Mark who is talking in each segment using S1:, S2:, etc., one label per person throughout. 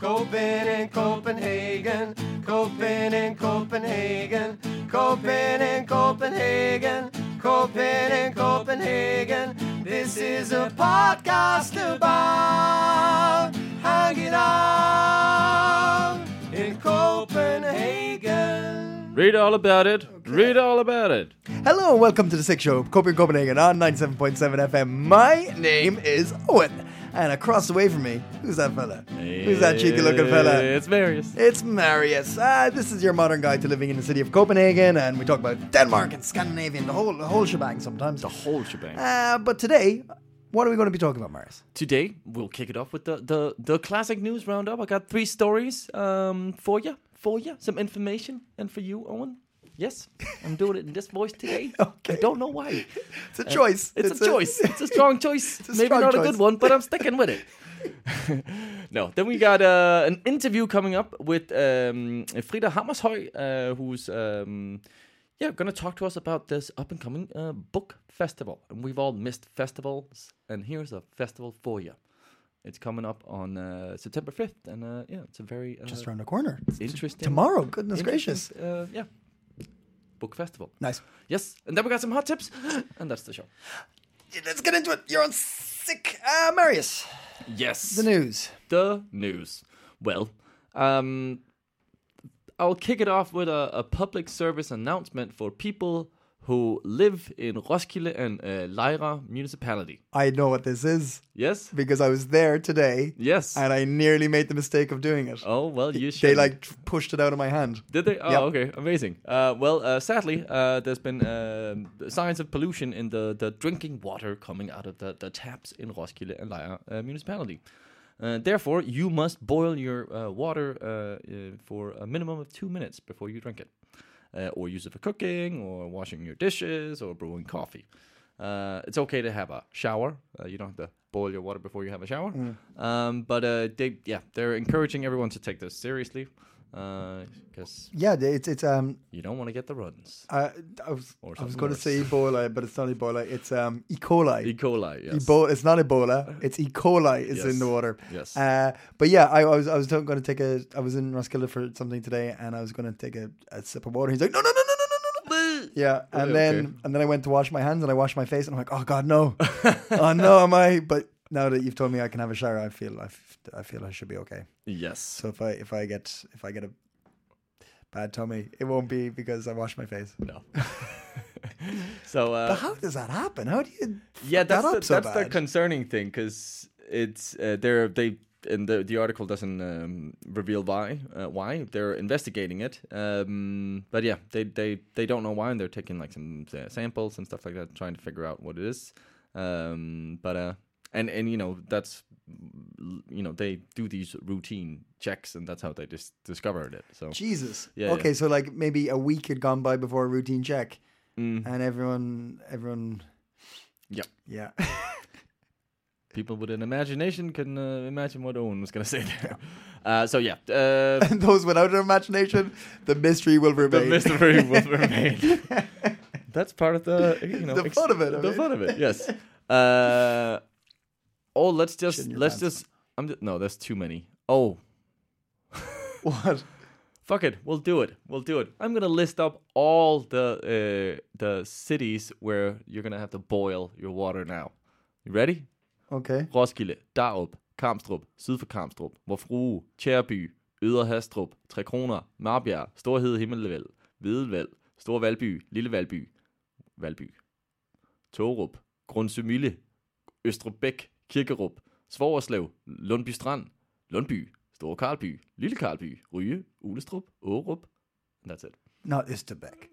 S1: Coping in Copenhagen, coping in Copenhagen, coping in Copenhagen, coping in Copenhagen. This is a podcast about hanging out in Copenhagen.
S2: Read all about it. Read all about it.
S3: Hello and welcome to the Sick Show, Copenhagen, Copenhagen on 97.7 FM. My name is Owen, and across the way from me, who's that fella? Who's that cheeky looking fella?
S2: It's Marius.
S3: It's Marius. Ah, this is your modern guide to living in the city of Copenhagen, and we talk about Denmark and Scandinavia and the whole, the whole shebang sometimes.
S2: Whole shebang.
S3: Uh, but today, what are we going to be talking about, Marius?
S2: Today we'll kick it off with the the, the classic news roundup. I got three stories um, for you, for you, some information, and for you, Owen. Yes, I'm doing it in this voice today.
S3: Okay.
S2: I don't know why. Uh,
S3: It's a choice.
S2: It's, a, choice. It's a strong choice.
S3: a
S2: Maybe
S3: strong
S2: not a
S3: choice.
S2: good one, but I'm sticking with it. no, then we got uh, an interview coming up with um, Frida Hammershøi, uh, who's um, yeah going to talk to us about this up and coming uh, book festival. And we've all missed festivals, and here's a festival for you. It's coming up on uh, September 5th, and uh, yeah, it's a very uh,
S3: Just around the corner.
S2: interesting
S3: Tomorrow, goodness gracious.
S2: interesting, uh, yeah book festival.
S3: Nice.
S2: Yes, and then we got some hot tips, and that's the show.
S3: Let's get into it. You're on Sick. Uh, Marius,
S2: Yes,
S3: the news.
S2: the news. Well, um, I'll kick it off with a, a public service announcement for people who live in Roskilde and uh, Lyra municipality.
S3: I know what this is
S2: Yes,
S3: because I was there today.
S2: yes.
S3: and I nearly made the mistake of doing it.
S2: oh well, you should.
S3: they like tr- pushed it out of my hand.
S2: Did they? Oh,
S3: Yep.
S2: okay, amazing. Uh, well, uh, sadly, uh, there's been um, signs of pollution in the, the drinking water coming out of the, the taps in Roskilde and Lejre uh, municipality. Uh, therefore, you must boil your uh, water uh, uh, for a minimum of two minutes before you drink it, uh, or use it for cooking, or washing your dishes, or brewing coffee. Uh, it's okay to have a shower. Uh, you don't have to boil your water before you have a shower. Um, but uh, they, yeah, they're encouraging everyone to take this seriously uh, because
S3: Yeah, they- it's it's um
S2: you don't want to get the runs.
S3: uh, I was
S2: Or
S3: I was
S2: something
S3: going to
S2: worse.
S3: say Ebola, but it's not Ebola. It's um E. coli.
S2: E. coli, yes.
S3: Ebola. It's not Ebola. It's E. coli is
S2: Yes.
S3: in the water.
S2: Yes.
S3: Uh, but yeah, I, I was I was going to take a. I was in Roskilde for something today, and I was going to take a, a sip of water. He's like, no, no, no, no, no, no, no. Yeah, and
S2: Okay.
S3: then and then I went to wash my hands, and I washed my face, and I'm like, oh god, no, oh no, am I? But now that you've told me I can have a shower, I feel I, f- I feel I should be okay.
S2: yes.
S3: So if I if I get if I get a bad tummy, it won't be because I washed my face.
S2: no. so uh,
S3: But how does that happen? How do you?
S2: yeah,
S3: fuck that
S2: that's the,
S3: up so
S2: that's the
S3: bad?
S2: concerning thing because it's uh, they're they and the the article doesn't um, reveal why uh, why they're investigating it. Um, but yeah, they they they don't know why and they're taking like some uh, samples and stuff like that, trying to figure out what it is. Um, but uh, and and you know that's you know they do these routine checks and that's how they just discovered it. So
S3: Jesus.
S2: Yeah,
S3: okay,
S2: yeah.
S3: so like maybe a week had gone by before a routine check,
S2: Mm.
S3: and everyone everyone
S2: yeah.
S3: yeah.
S2: people with an imagination can uh, imagine what Owen was going to say there. Uh, so yeah, uh,
S3: and those without an imagination, the mystery will
S2: the
S3: remain.
S2: mystery will remain. That's part of the you know
S3: The fun of it, I
S2: the
S3: mean.
S2: fun of it. Yes. Uh, oh, let's just
S3: your
S2: let's
S3: pants.
S2: just. I'm just, no, that's too many. Oh,
S3: what?
S2: fuck it, we'll do it. We'll do it. I'm gonna list up all the uh, the cities where you're gonna have to boil your water now. You ready?
S3: Okay.
S2: Roskilde, Darup, Kamstrup, syd for Kamstrup, Vorfrue, Tjærby, Ydre Hastrup, Tre Kroner, Marbjerg, Storhed Himmelvæld, Hvidevæld, Stor Valby, Lille Valby, Valby, Torup, Grundsømille, Østrebæk, Kirkerup, Svogerslev, Lundby Strand, Lundby, Store Karlby, Lille Karlby, Ryge, Ulestrup, Årup. That's it.
S3: Not Isterbeck.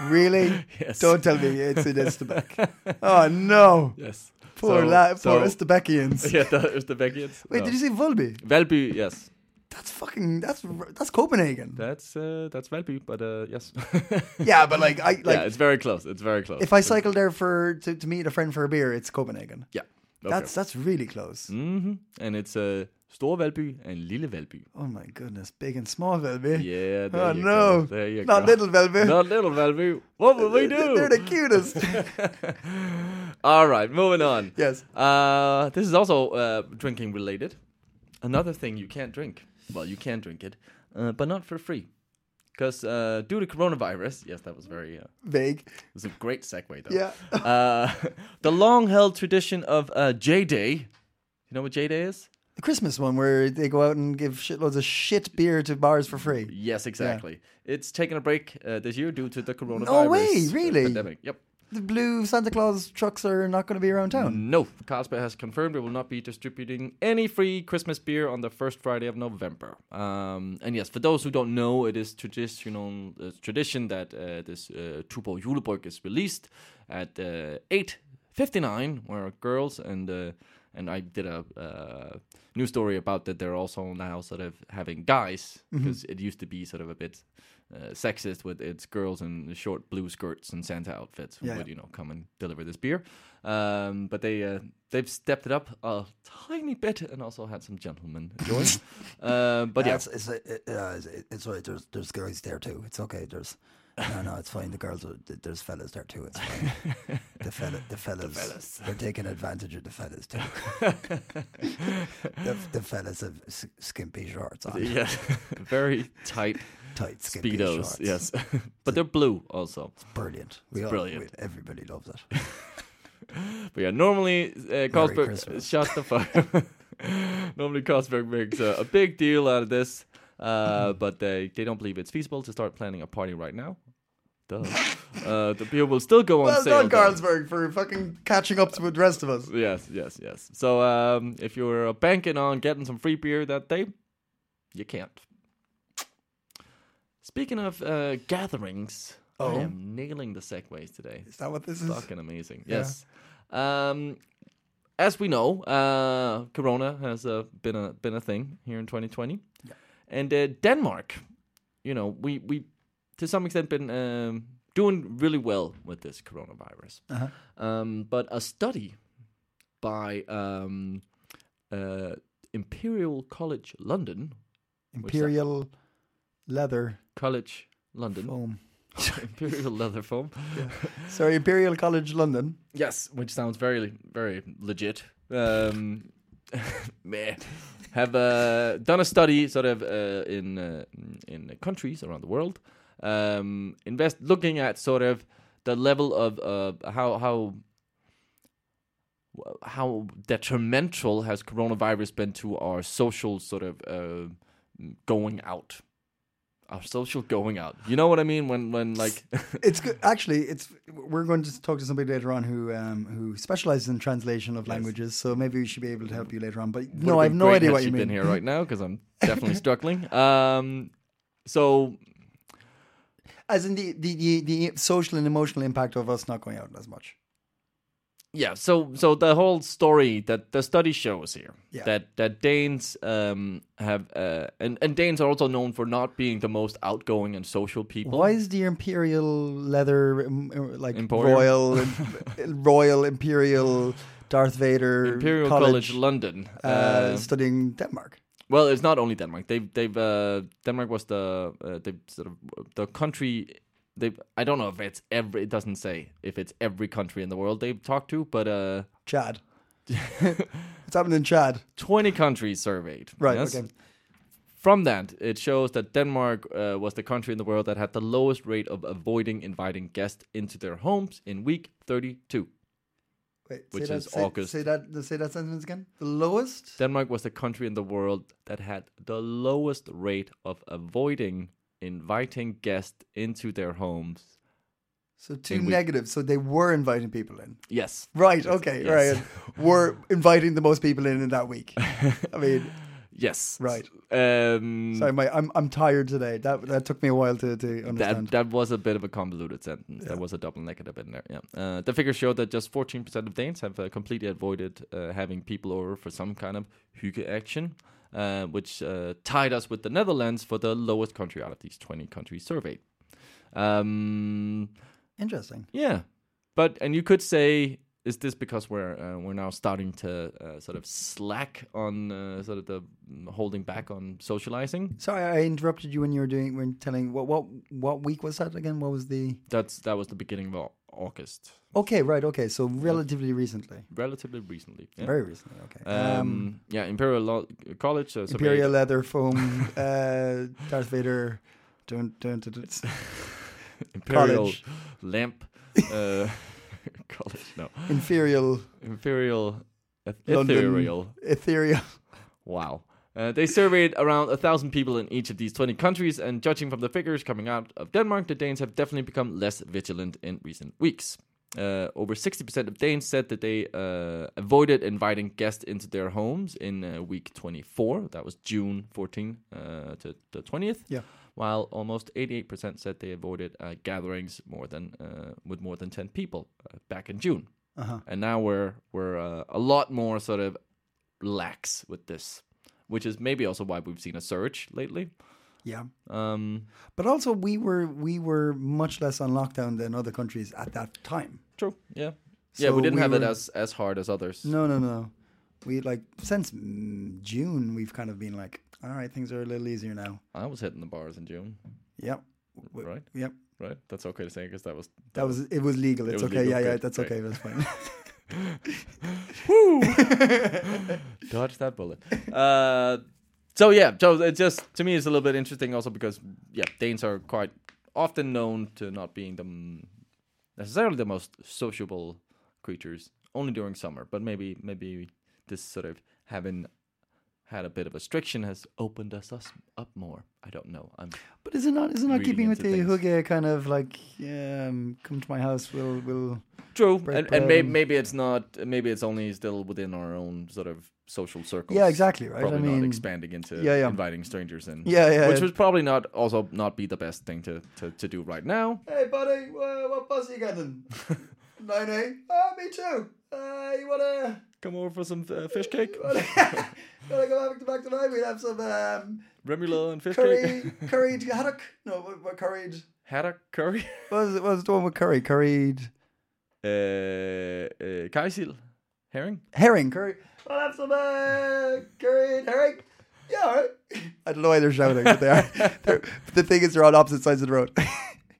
S3: Really?
S2: Yes.
S3: Don't tell me it's in Isterbeck. oh no.
S2: Yes.
S3: Poor,
S2: So-
S3: la-
S2: so-
S3: poor Estebekians.
S2: yeah, the Østerbergians.
S3: Wait, did you say Volby?
S2: Valby? Yes,
S3: That's fucking. That's r- that's Copenhagen.
S2: that's uh, that's Valby, but uh, yes.
S3: yeah, but like I like
S2: yeah, it's very close. It's very close.
S3: if I cycle there for to, to meet a friend for a beer, it's Copenhagen.
S2: yeah, okay.
S3: That's that's really close.
S2: hmm and it's uh, Store Valby and Lille Valby.
S3: Oh my goodness, big and small Velby.
S2: Yeah. There
S3: Oh
S2: you
S3: no,
S2: Go. There you
S3: not
S2: go.
S3: little Velby.
S2: Not little Valby. What will we do?
S3: They're the cutest.
S2: All right, moving on.
S3: Yes.
S2: Uh, this is also uh, drinking related. Another thing you can't drink. Well, you can drink it, uh, but not for free. Because uh, due to coronavirus, yes, that was very. Uh,
S3: Vague.
S2: it was a great segue, though.
S3: Yeah.
S2: Uh, the long-held tradition of uh, J Day. You know what J Day is?
S3: The Christmas one where they go out and give shitloads of shit beer to bars for free.
S2: Yes, exactly. It's taken a break uh, this year due to the coronavirus.
S3: way,
S2: uh,
S3: really?
S2: Pandemic. Yep.
S3: The blue Santa Claus trucks are not going to be around town.
S2: No, Carlsberg has confirmed it will not be distributing any free Christmas beer on the first Friday of November. Um, and yes, for those who don't know, it is traditional uh, tradition that uh, this uh, Tuborg Juleborg is released at uh, eight fifty nine, where girls and uh, and I did a uh, news story about that. They're also now sort of having guys
S3: Mm-hmm.
S2: because it used to be sort of a bit. Uh, sexist with its girls in short blue skirts and Santa outfits who
S3: Yeah,
S2: would
S3: yeah.
S2: you know come and deliver this beer. Um, but they uh, they've stepped it up a tiny bit and also had some gentlemen join. uh, but yeah,
S4: That's, it's, it, uh, it's, it's right. There's there's girls there too. It's okay. There's no no. It's fine. The girls are, th- there's fellas there too. It's fine. the fella the fellas, they're taking advantage of the fellas too. the, the fellas have s- skimpy shorts on.
S2: yeah, very tight
S4: Tight skimpy
S2: speedos.
S4: shorts.
S2: Yes, but they're blue also.
S4: Brilliant. We all,
S2: brilliant.
S4: we- everybody loves it.
S2: But yeah, normally uh, Carlsberg
S4: Christmas.
S2: shut the fuck. normally Carlsberg makes a, a big deal out of this, uh, but they they don't believe it's feasible to start planning a party right now. Duh. uh, the beer will still go on
S3: Well
S2: sale.
S3: done,
S2: though.
S3: Carlsberg, for fucking catching up with the rest of us.
S2: Yes, yes, yes. So um, if you're banking on getting some free beer that day, you can't. Speaking of uh, gatherings, I am nailing the segues today.
S3: Is that what Oh. this is?
S2: Fucking amazing. Yes. Um, as we know, uh, Corona has uh, been a been a thing here in 2020, and uh, Denmark, you know, we we to some extent been um, doing really well with this coronavirus.
S3: Uh-huh.
S2: Um, but a study by um, uh, Imperial College London,
S3: Imperial leather
S2: College London,
S3: foam.
S2: Imperial Leather Foam.
S3: Sorry, Imperial College London.
S2: Yes, which sounds very, very legit. Um, meh. Have uh, done a study, sort of, uh, in uh, in countries around the world, um, invest looking at sort of the level of uh, how how how detrimental has coronavirus been to our social sort of uh, going out, our social going out. You know what I mean? When when like
S3: It's good. Actually, it's we're going to talk to somebody later on who um, who specializes in translation of languages. So maybe we should be able to help you later on. But no, I have
S2: been
S3: no
S2: great
S3: idea
S2: had
S3: what
S2: she
S3: you mean.
S2: Been here right now because I'm definitely struggling. Um, so
S3: As in the, the, the, the social and emotional impact of us not going out as much.
S2: yeah, so so the whole story that the study shows here
S3: Yeah.
S2: that that Danes um, have uh, and and Danes are also known for not being the most outgoing and social people.
S3: Why is the imperial leather um, uh, like
S2: Emporium?
S3: royal im- uh, royal imperial Darth Vader
S2: Imperial College, London.
S3: uh,
S2: Uh,
S3: studying Denmark?
S2: well, it's not only Denmark. They've they've uh, Denmark was the uh, they sort of the country. They I don't know if it's every. It doesn't say if it's every country in the world they've talked to, but uh,
S3: Chad. What's happening in Chad?
S2: 20 countries surveyed.
S3: Right.
S2: yes?
S3: Okay.
S2: From that, it shows that Denmark uh, was the country in the world that had the lowest rate of avoiding inviting guests into their homes in week 32.
S3: Wait,
S2: Which
S3: say
S2: is
S3: that, say,
S2: August.
S3: Say that. Say that sentence again. The lowest.
S2: Denmark was the country in the world that had the lowest rate of avoiding inviting guests into their homes.
S3: So two negatives. So they were inviting people in.
S2: Yes.
S3: Right. Okay.
S2: yes.
S3: Right. We're inviting the most people in in that week. I mean,
S2: Yes.
S3: Right.
S2: Um,
S3: Sorry, my, I'm I'm tired today. That that took me a while to, to understand.
S2: That, that was a bit of a convoluted sentence. There was a double negative in there. Yeah. Uh, the figures show that just 14% of Danes have uh, completely avoided uh, having people over for some kind of hygge action, uh, which uh, tied us with the Netherlands for the lowest country out of these 20 countries surveyed. Um,
S4: Interesting.
S2: yeah, but and you could say, is this because we're uh, we're now starting to uh, sort of slack on uh, sort of the mm, holding back on socializing?
S3: Sorry, I interrupted you when you were doing when telling what what what week was that again? What was the
S2: That's that was the beginning of Au- August,
S3: Okay, right. Okay, so relatively recently,
S2: relatively recently. yeah.
S3: very recently. Okay.
S2: Um, yeah, Imperial Law College. Uh, surveyed-
S3: Imperial leather foam, uh, Darth Vader. Dun, dun, dun, dun.
S2: Imperial
S3: College.
S2: Lamp uh, College. No,
S3: Inferior,
S2: Imperial eth-
S3: London.
S2: Ethereal.
S3: ethereal.
S2: Wow. Uh, they surveyed around a thousand people in each of these 20 countries, and judging from the figures coming out of Denmark, the Danes have definitely become less vigilant in recent weeks. Uh, over 60% of Danes said that they uh, avoided inviting guests into their homes in uh, week 24. That was June 14 uh, to the 20th.
S3: Yeah.
S2: While almost 88% said they avoided uh, gatherings more than uh, with more than 10 people uh, back in June.
S3: Uh-huh.
S2: And now we're we're uh, a lot more sort of lax with this, which is maybe also why we've seen a surge lately.
S3: Yeah.
S2: Um,
S3: But also, we were we were much less on lockdown than other countries at that time.
S2: True. Yeah. yeah, we
S3: So
S2: didn't
S3: we
S2: have it
S3: were-
S2: as as hard as others.
S3: No, no, no. We like since mm, June, we've kind of been like, all right, things are a little easier now.
S2: I was hitting the bars in June,
S3: Yep. W-
S2: right?
S3: Yep.
S2: Right. That's okay to say because that was
S3: That was it. Was legal. It's
S2: was
S3: okay.
S2: legal,
S3: Yeah, yeah.
S2: good,
S3: That's
S2: great.
S3: okay. That's fine.
S2: dodge that bullet. Uh, so yeah, so it just to me it's a little bit interesting also because yeah, Danes are quite often known to not being the m- necessarily the most sociable creatures only during summer, but maybe maybe this sort of having had a bit of restriction has opened us us up more. I don't know. I'm
S3: But is it not? Is it not
S2: Reading
S3: keeping with
S2: into
S3: the
S2: things.
S3: hygge kind of like um, come to my house? We'll we'll
S2: True,
S3: Break
S2: and, and
S3: bread
S2: may,
S3: and-
S2: maybe it's not. Maybe it's only still within our own sort of social circles.
S3: Yeah, exactly, right? I
S2: Probably not
S3: mean-
S2: expanding into
S3: Yeah, yeah.
S2: inviting strangers in.
S3: Yeah, yeah,
S2: Which
S3: yeah.
S2: would probably not also not be the best thing to to, to do right now.
S3: Hey, buddy, what, what bus are you getting? 9A? Ah, me too. Uh, you wanna,
S2: Come over for some uh, fish cake,
S3: wanna go back to, back to mine? We'd have some um,
S2: remoulade and fish cake,
S3: curry, curried haddock. No, what, what curried?
S2: haddock curry,
S3: What was, it- what was the one with curry? Curried
S2: uh, uh, kaisil, herring.
S3: herring. Curry. We'll have some uh, curried herring. Yeah, all right. I don't know why they're shouting, but they are. They're, the thing is, they're on opposite sides of the road.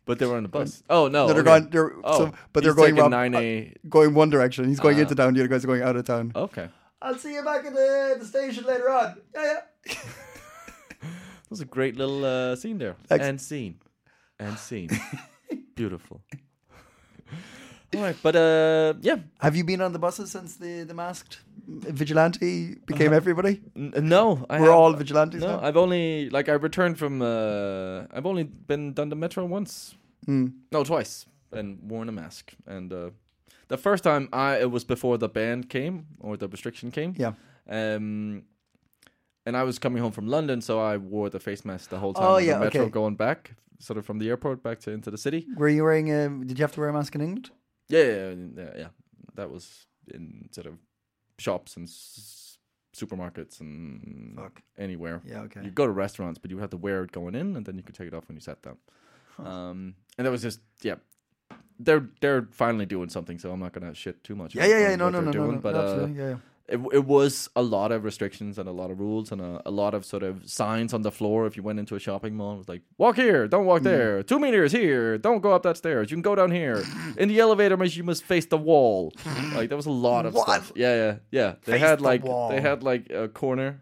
S2: But they were on the bus. Oh no,
S3: No, they're
S2: okay.
S3: going. They're,
S2: Oh,
S3: so, but they're
S2: he's
S3: going.
S2: taking
S3: Rob,
S2: nine
S3: uh,
S2: a.
S3: going one direction. He's going into town. The other guys are going out of town.
S2: Okay,
S3: Uh. I'll see you back at the, the station later on. Yeah, yeah.
S2: that was a great little uh, scene there.
S3: Thanks.
S2: And scene, and scene, beautiful. All right, but uh, yeah,
S3: Have you been on the buses since the, the masked vigilante became everybody?
S2: N- no, I
S3: We're
S2: have-
S3: all vigilantes
S2: No,
S3: now.
S2: I've only like I returned from. Uh, I've only been done the metro once.
S3: Hmm.
S2: No, twice, and worn a mask. And uh, the first time I it was before the ban came or the restriction came.
S3: Yeah.
S2: Um, and I was coming home from London, so I wore the face mask the whole time.
S3: Oh,
S2: on the
S3: yeah,
S2: metro
S3: okay.
S2: going back, sort of from the airport back to into the city.
S3: Were you wearing a? Did you have to wear a mask in England?
S2: Yeah, yeah, yeah, yeah. That was in sort of shops and s- supermarkets and
S3: Fuck.
S2: anywhere.
S3: Yeah, okay.
S2: You go to restaurants, but you have to wear it going in, and then you could take it off when you sat down. Um, and that was just yeah. They're they're finally doing something, so I'm not gonna shit too much.
S3: Yeah,
S2: about
S3: yeah,
S2: what-
S3: yeah. No,
S2: what
S3: no,
S2: they're
S3: no, no,
S2: doing,
S3: no.
S2: But uh,
S3: absolutely. yeah, yeah.
S2: it it was a lot of restrictions and a lot of rules and a, a lot of sort of signs on the floor. If you went into a shopping mall, it was like walk here, don't
S3: Mm.
S2: walk there. Two meters here, don't go up that stairs. You can go down here. In the elevator, must- you must face the wall. Like there was a lot of stuff. Yeah, yeah, yeah. They
S3: Face
S2: had
S3: the
S2: like
S3: wall.
S2: they had like a corner.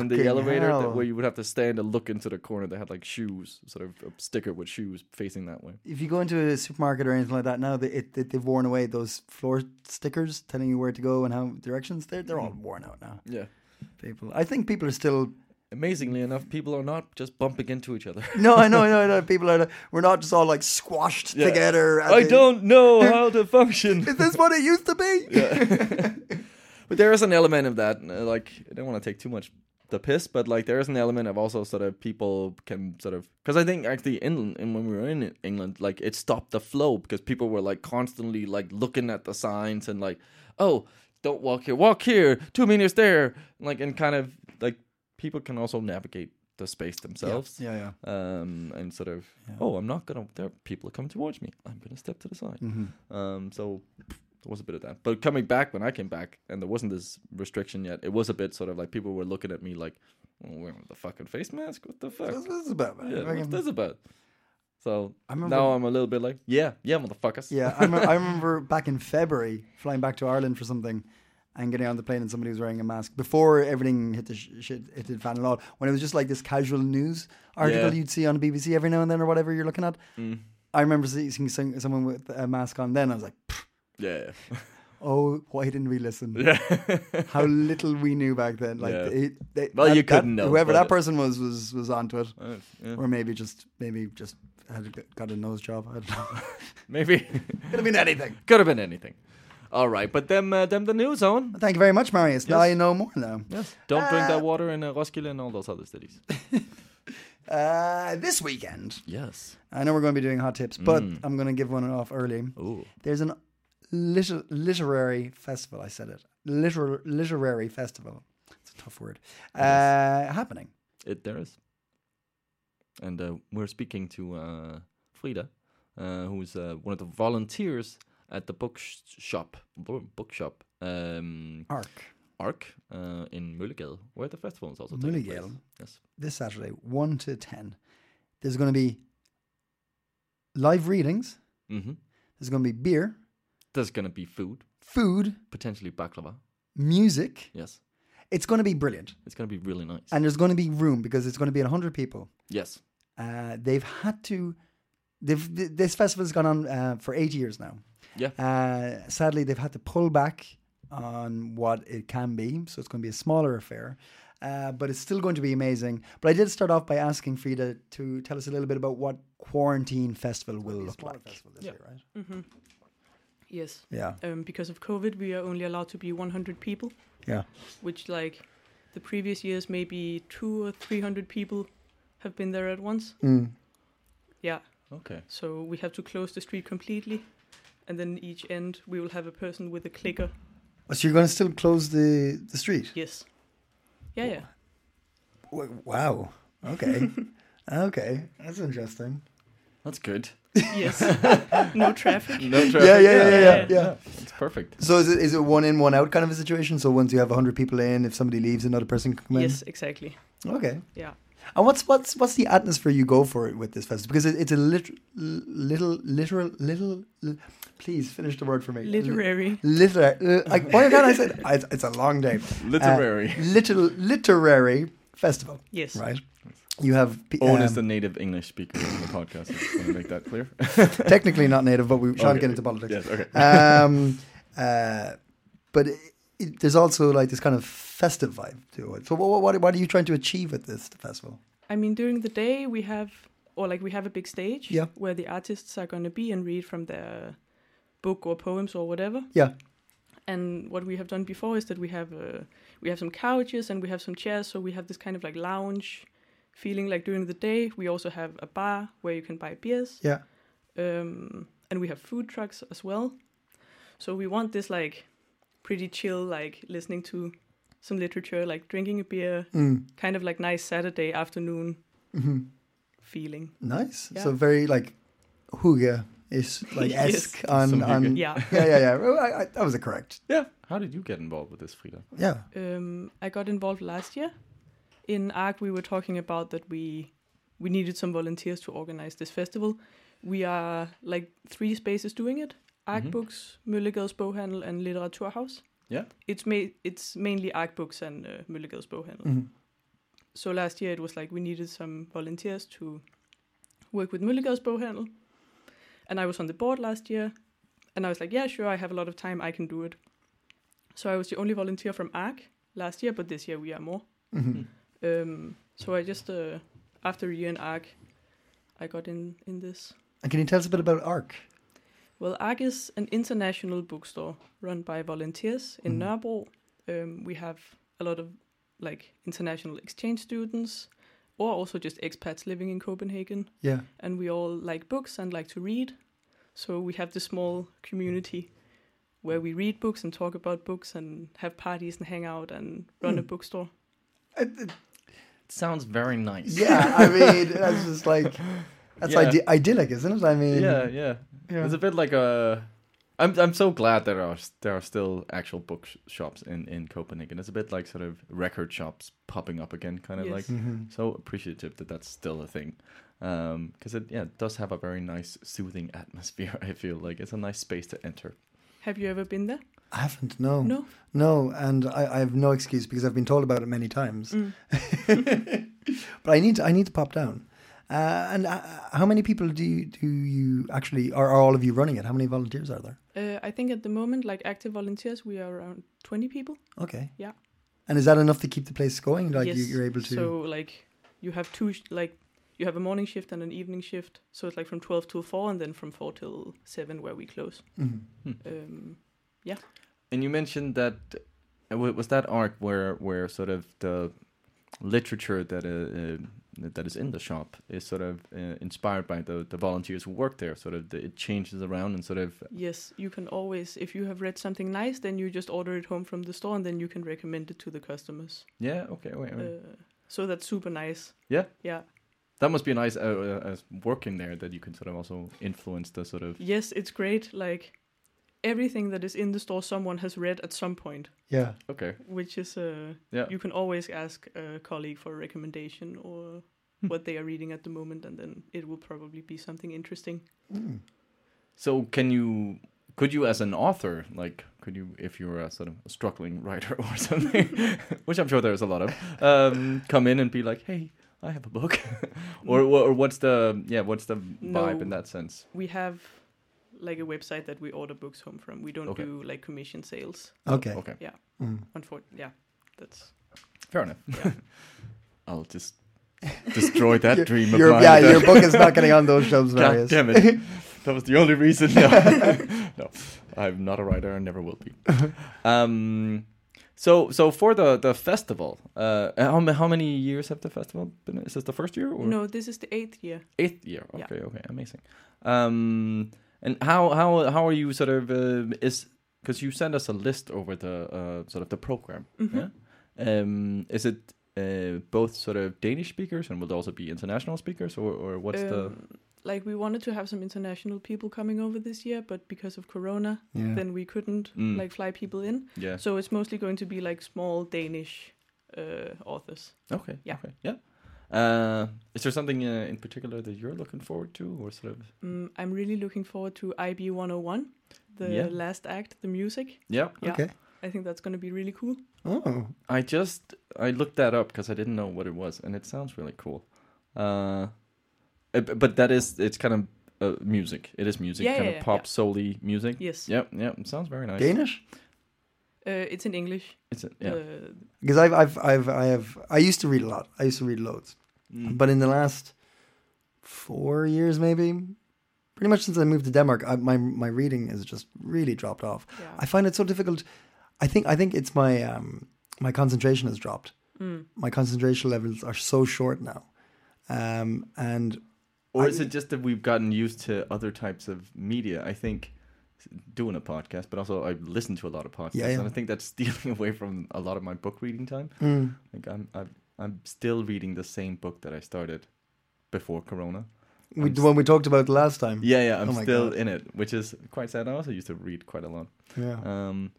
S2: in the
S3: Fucking
S2: elevator
S3: hell.
S2: that, where you would have to stand and look into the corner they had like shoes sort of a sticker with shoes facing that way
S3: If you go into a supermarket or anything like that now, they, it, they they've worn away those floor stickers telling you where to go and how directions. They're they're all
S2: Mm.
S3: worn out now.
S2: yeah
S3: People, I think people are still
S2: amazingly enough people are not just bumping into each other
S3: No, I know, I know, I know. People are. We're not just all like squashed together. at
S2: i
S3: the-
S2: don't know how to function
S3: Is this what it used to be?
S2: but there is an element of that uh, like i don't want to take too much the piss, but like there is an element of also sort of people can sort of because I think actually in, in when we were in England, like it stopped the flow because people were like constantly like looking at the signs and like, oh, don't walk here, walk here, two meters there, like and kind of like people can also navigate the space themselves.
S3: Yeah, yeah.
S2: Um, and sort of, oh, I'm not gonna. There, are people coming towards me. I'm gonna step to the side.
S3: Mm-hmm.
S2: Um, so there was a bit of that. But coming back when I came back, and there wasn't this restriction yet. It was a bit sort of like people were looking at me like, oh, wearing the fucking face mask. What the fuck?
S3: This, this is about man.
S2: Yeah, what's
S3: Fucking-
S2: this about? So
S3: I remember-
S2: now I'm a little bit like, yeah, yeah, motherfuckers.
S3: Yeah, I, remember, I remember back in February flying back to Ireland for something and getting on the plane and somebody was wearing a mask before everything hit the sh- shit hit the fan a lot when it was just like this casual news article
S2: Yeah. Mm.
S3: you'd see on BBC every now and then or whatever you're looking at. I remember see- seeing some, someone with a mask on then I was like, "Pfft,
S2: yeah,
S3: "Oh, why didn't we listen?"
S2: yeah.
S3: How little we knew back then. Like
S2: Yeah.
S3: it, they,
S2: Well,
S3: that-
S2: you
S3: that-
S2: couldn't know,
S3: Whoever
S2: but
S3: that
S2: it-
S3: person was was was onto it,
S2: Alright, yeah.
S3: or maybe just maybe just had got a nose job. I don't know.
S2: Maybe
S3: Could have been anything.
S2: could have been anything. All right, but them, uh, them, the new zone.
S3: Thank you very much, Marius. Now you know more now.
S2: Yes, don't drink that water in uh, Roskilde and all those other cities.
S3: Uh, this weekend,
S2: yes.
S3: I know we're going to be doing hot tips, but I'm going to give one off early.
S2: Ooh.
S3: There's an liter- literary festival. I said it. Liter- literary festival. It's a tough word. Uh, Happening.
S2: It there is. And uh, we're speaking to uh, Frida, uh, who's uh, one of the volunteers at the book sh- shop, bo- bookshop, um,
S3: Arc
S2: Arc uh, in Mulligale, where the festival is also taking place.
S3: Mulligale?
S2: Yes.
S3: this Saturday, one to ten. There's going to be live readings.
S2: Mm-hmm.
S3: There's going to be beer,
S2: There's gonna be food,
S3: food,
S2: potentially baklava.
S3: music.
S2: Yes,
S3: It's going to be brilliant,
S2: it's gonna be really nice.
S3: and there's going to be room because it's going to be hundred people.
S2: yes.
S3: uh, they've had to. They've, th- this festival's gone on uh, for eight years now.
S2: Yeah.
S3: Uh, sadly, they've had to pull back on what it can be, so it's going to be a smaller affair, uh, but it's still going to be amazing. But I did start off by asking Frida to tell us a little bit about what quarantine festival will look like.
S2: Yeah.
S5: Yes.
S3: Yeah,
S5: Um, because of COVID, we are only allowed to be 100 people,
S3: yeah,
S5: which, like, the previous years, maybe two or 300 people have been there at once.
S3: Mm.
S5: Yeah.
S2: Okay.
S5: So we have to close the street completely, and then each end we will have a person with a clicker.
S3: Oh, So you're going to still close the the street?
S5: Yes. Yeah, yeah.
S3: W- Wow. Okay. okay, that's interesting.
S2: That's good.
S5: Yes. no traffic.
S2: No
S3: Yeah, yeah, yeah, yeah, yeah.
S5: Yeah.
S3: yeah.
S2: It's perfect.
S3: So is it is it one in one out kind of a situation? So once you have hundred people in, if somebody leaves, another person can come in.
S5: Yes, exactly.
S3: Okay.
S5: Yeah.
S3: And what's what's what's the atmosphere you go for it with this festival? Because it, it's a lit, little literal little. l- please finish the word for me.
S5: Literary.
S3: Literary. Like, why can't I say? It? It's, it's a long name.
S2: Literary.
S3: Uh, little literary festival.
S5: Yes.
S3: Right. You have pe-
S2: Owen is
S3: um,
S2: the native English speaker on the podcast. I just want to make that clear.
S3: technically not native, but we shan't
S2: Okay.
S3: get into politics.
S2: yes. Okay.
S3: um, uh, but it, it, there's also like this kind of festive vibe to it. So what, what, what are you trying to achieve with this festival?
S5: I mean, during the day we have, or like we have a big stage
S3: Yeah.
S5: where the artists are going to be and read from their book or poems or whatever.
S3: Yeah,
S5: And what we have done before is that we have uh, we have some couches and we have some chairs, so we have this kind of like lounge feeling. Like during the day, we also have a bar where you can buy beers,
S3: yeah,
S5: um, and we have food trucks as well. So we want this like pretty chill, like listening to some literature, like drinking a beer,
S3: Mm,
S5: kind of like nice Saturday afternoon feeling.
S3: mm-hmm. nice.
S5: Yeah.
S3: So very like hygge is like
S5: Yes.
S3: esque on
S2: Some
S3: on
S2: hygge.
S5: Yeah.
S3: yeah yeah yeah. Well, I, I, that was correct.
S2: Yeah. How did you get involved with this, Frida?
S3: Yeah.
S5: um, I got involved last year. In ARC, we were talking about that we we needed some volunteers to organize this festival. We are like three spaces doing it: ARC Books, Møllegades Boghandel, and Literaturhaus.
S2: Yeah.
S5: It's ma- it's mainly ARC Books and uh, Møllegades Boghandel.
S3: Mm-hmm.
S5: So last year it was like we needed some volunteers to work with Møllegades Boghandel, and I was on the board last year, and I was like, yeah, sure, I have a lot of time, I can do it. So I was the only volunteer from ARC last year, but this year we are more.
S3: Mm-hmm.
S2: Hmm.
S5: Um, so I just, uh, after a year in ARC, I got in, in this.
S3: And can you tell us a bit about Arc?
S5: Well, ARC is an international bookstore run by volunteers in Nørrebro. Um, we have a lot of like international exchange students or also just expats living in Copenhagen.
S3: Yeah.
S5: And we all like books and like to read. So we have this small community where we read books and talk about books and have parties and hang out and run a bookstore.
S2: Sounds very nice.
S3: Yeah, I mean, that's just like that's
S2: Yeah.
S3: ide- idyllic, isn't it? I mean,
S2: yeah, yeah,
S3: Yeah.
S2: It's a bit like a. I'm I'm so glad there are there are still actual book sh- shops in in Copenhagen. It's a bit like sort of record shops popping up again, kind of
S5: Yes.
S2: like
S3: Mm-hmm.
S2: so appreciative that that's still a thing, because it yeah it does have a very nice soothing atmosphere. I feel like it's a nice space to enter.
S5: Have you ever been there?
S3: I haven't. No,
S5: No.
S3: no, and I, I have no excuse because I've been told about it many times. but I need to, I need to pop down. Uh, and uh, how many people do you, do you actually are, are all of you running it? How many volunteers are there?
S5: Uh, I think at the moment, like active volunteers, we are around 20 people.
S3: Okay.
S5: Yeah.
S3: And is that enough to keep the place going? Like you,
S5: Yes.
S3: you're able to.
S5: So like you have two sh- like you have a morning shift and an evening shift. So it's like from 12 till 4 and then from 4 till 7 where we close.
S3: Mhm.
S5: Um,
S2: And you mentioned that uh, wa- was that arc where where sort of the literature that uh, uh, that is in the shop is sort of uh, inspired by the the volunteers who work there. Sort of the, it changes around and sort of
S5: yes, you can always if you have read something nice, then you just order it home from the store and then you can recommend it to the customers.
S2: yeah okay wait, wait.
S5: Uh, so that's super nice.
S2: Yeah.
S5: Yeah.
S2: that must be nice uh, uh, as working there that you can sort of also influence the sort of
S5: Yes, it's great like everything that is in the store someone has read at some point,
S3: Yeah.
S2: okay
S5: which is uh
S2: yeah
S5: you can always ask a colleague for a recommendation or
S2: Hmm.
S5: what they are reading at the moment, and then it will probably be something interesting.
S3: Mm.
S2: so can you could you as an author like could you if you're a sort of struggling writer or something which i'm sure there's a lot of um come in and be like hey i have a book or, or or what's the yeah what's the vibe
S5: No.
S2: in that sense
S5: We have like a website that we order books home from. We don't
S2: Okay.
S5: do like commission sales.
S3: Okay.
S2: okay
S3: Mm.
S5: Unfortunately, yeah, that's
S2: fair enough i'll just destroy that
S3: Your-
S2: dream of
S3: Your,
S2: mine
S3: yeah,
S2: then.
S3: your book is not getting on those shelves,
S2: God
S3: Marius.
S2: damn it. That was the only reason. No, No, I'm not a writer and never will be. Um, so, so for the, the festival, uh, how, ma- how many years have the festival been? Is this the first year or
S5: no. This is the eighth year.
S2: eighth year?
S5: Yeah.
S2: Okay, okay, amazing. Um, and how how how are you sort of uh, is because you sent us a list over the uh, sort of the program.
S5: Mm-hmm.
S2: Yeah. Um, is it uh, both sort of Danish speakers and will there also be international speakers or or what's the
S5: Um, Like we wanted to have some international people coming over this year, but because of Corona,
S3: Yeah.
S5: then we couldn't
S2: Mm.
S5: like fly people in.
S2: yeah?
S5: So it's mostly going to be like small Danish uh, authors.
S2: Okay.
S5: Yeah.
S2: Okay. Yeah. Uh, is there something uh, in particular that you're looking forward to, or sort of?
S5: Mm, I'm really looking forward to IB 101, the
S2: Yeah.
S5: last act, the music.
S2: Yeah.
S5: Yeah.
S3: Okay.
S5: I think that's going to be really cool.
S3: Oh.
S2: I just I looked that up because I didn't know what it was, and it sounds really cool. Uh, uh, b- but that is it's kind of uh, music. It is music,
S5: Yeah,
S2: kind
S5: yeah,
S2: of
S5: yeah,
S2: pop
S5: yeah.
S2: solely music.
S5: Yes.
S2: Yep. Yep. it Sounds very nice.
S3: Danish?
S5: Uh, it's in English.
S2: It's a, yeah.
S5: Uh,
S3: Because I've, I've, I've, I have, I used to read a lot. I used to read loads,
S2: Mm.
S3: but in the last four years, maybe, pretty much since I moved to Denmark, I, my my reading has just really dropped off.
S5: Yeah.
S3: I find it so difficult. I think, I think it's my, um, my concentration has dropped.
S5: Mm,
S3: My concentration levels are so short now, um, and
S2: Or
S3: I-
S2: is it just that we've gotten used to other types of media? I think doing a podcast, but also I listen to a lot of podcasts,
S3: yeah.
S2: and I think that's stealing away from a lot of my book reading time.
S3: mm,
S2: Like I'm, I'm, I'm still reading the same book that I started before Corona.
S3: we,
S2: I'm
S3: the one we talked about last time.
S2: Yeah, yeah, I'm
S3: Mm-hmm. Oh my
S2: still
S3: God.
S2: in it, which is quite sad. I also used to read quite a lot.
S3: yeah.
S2: Um,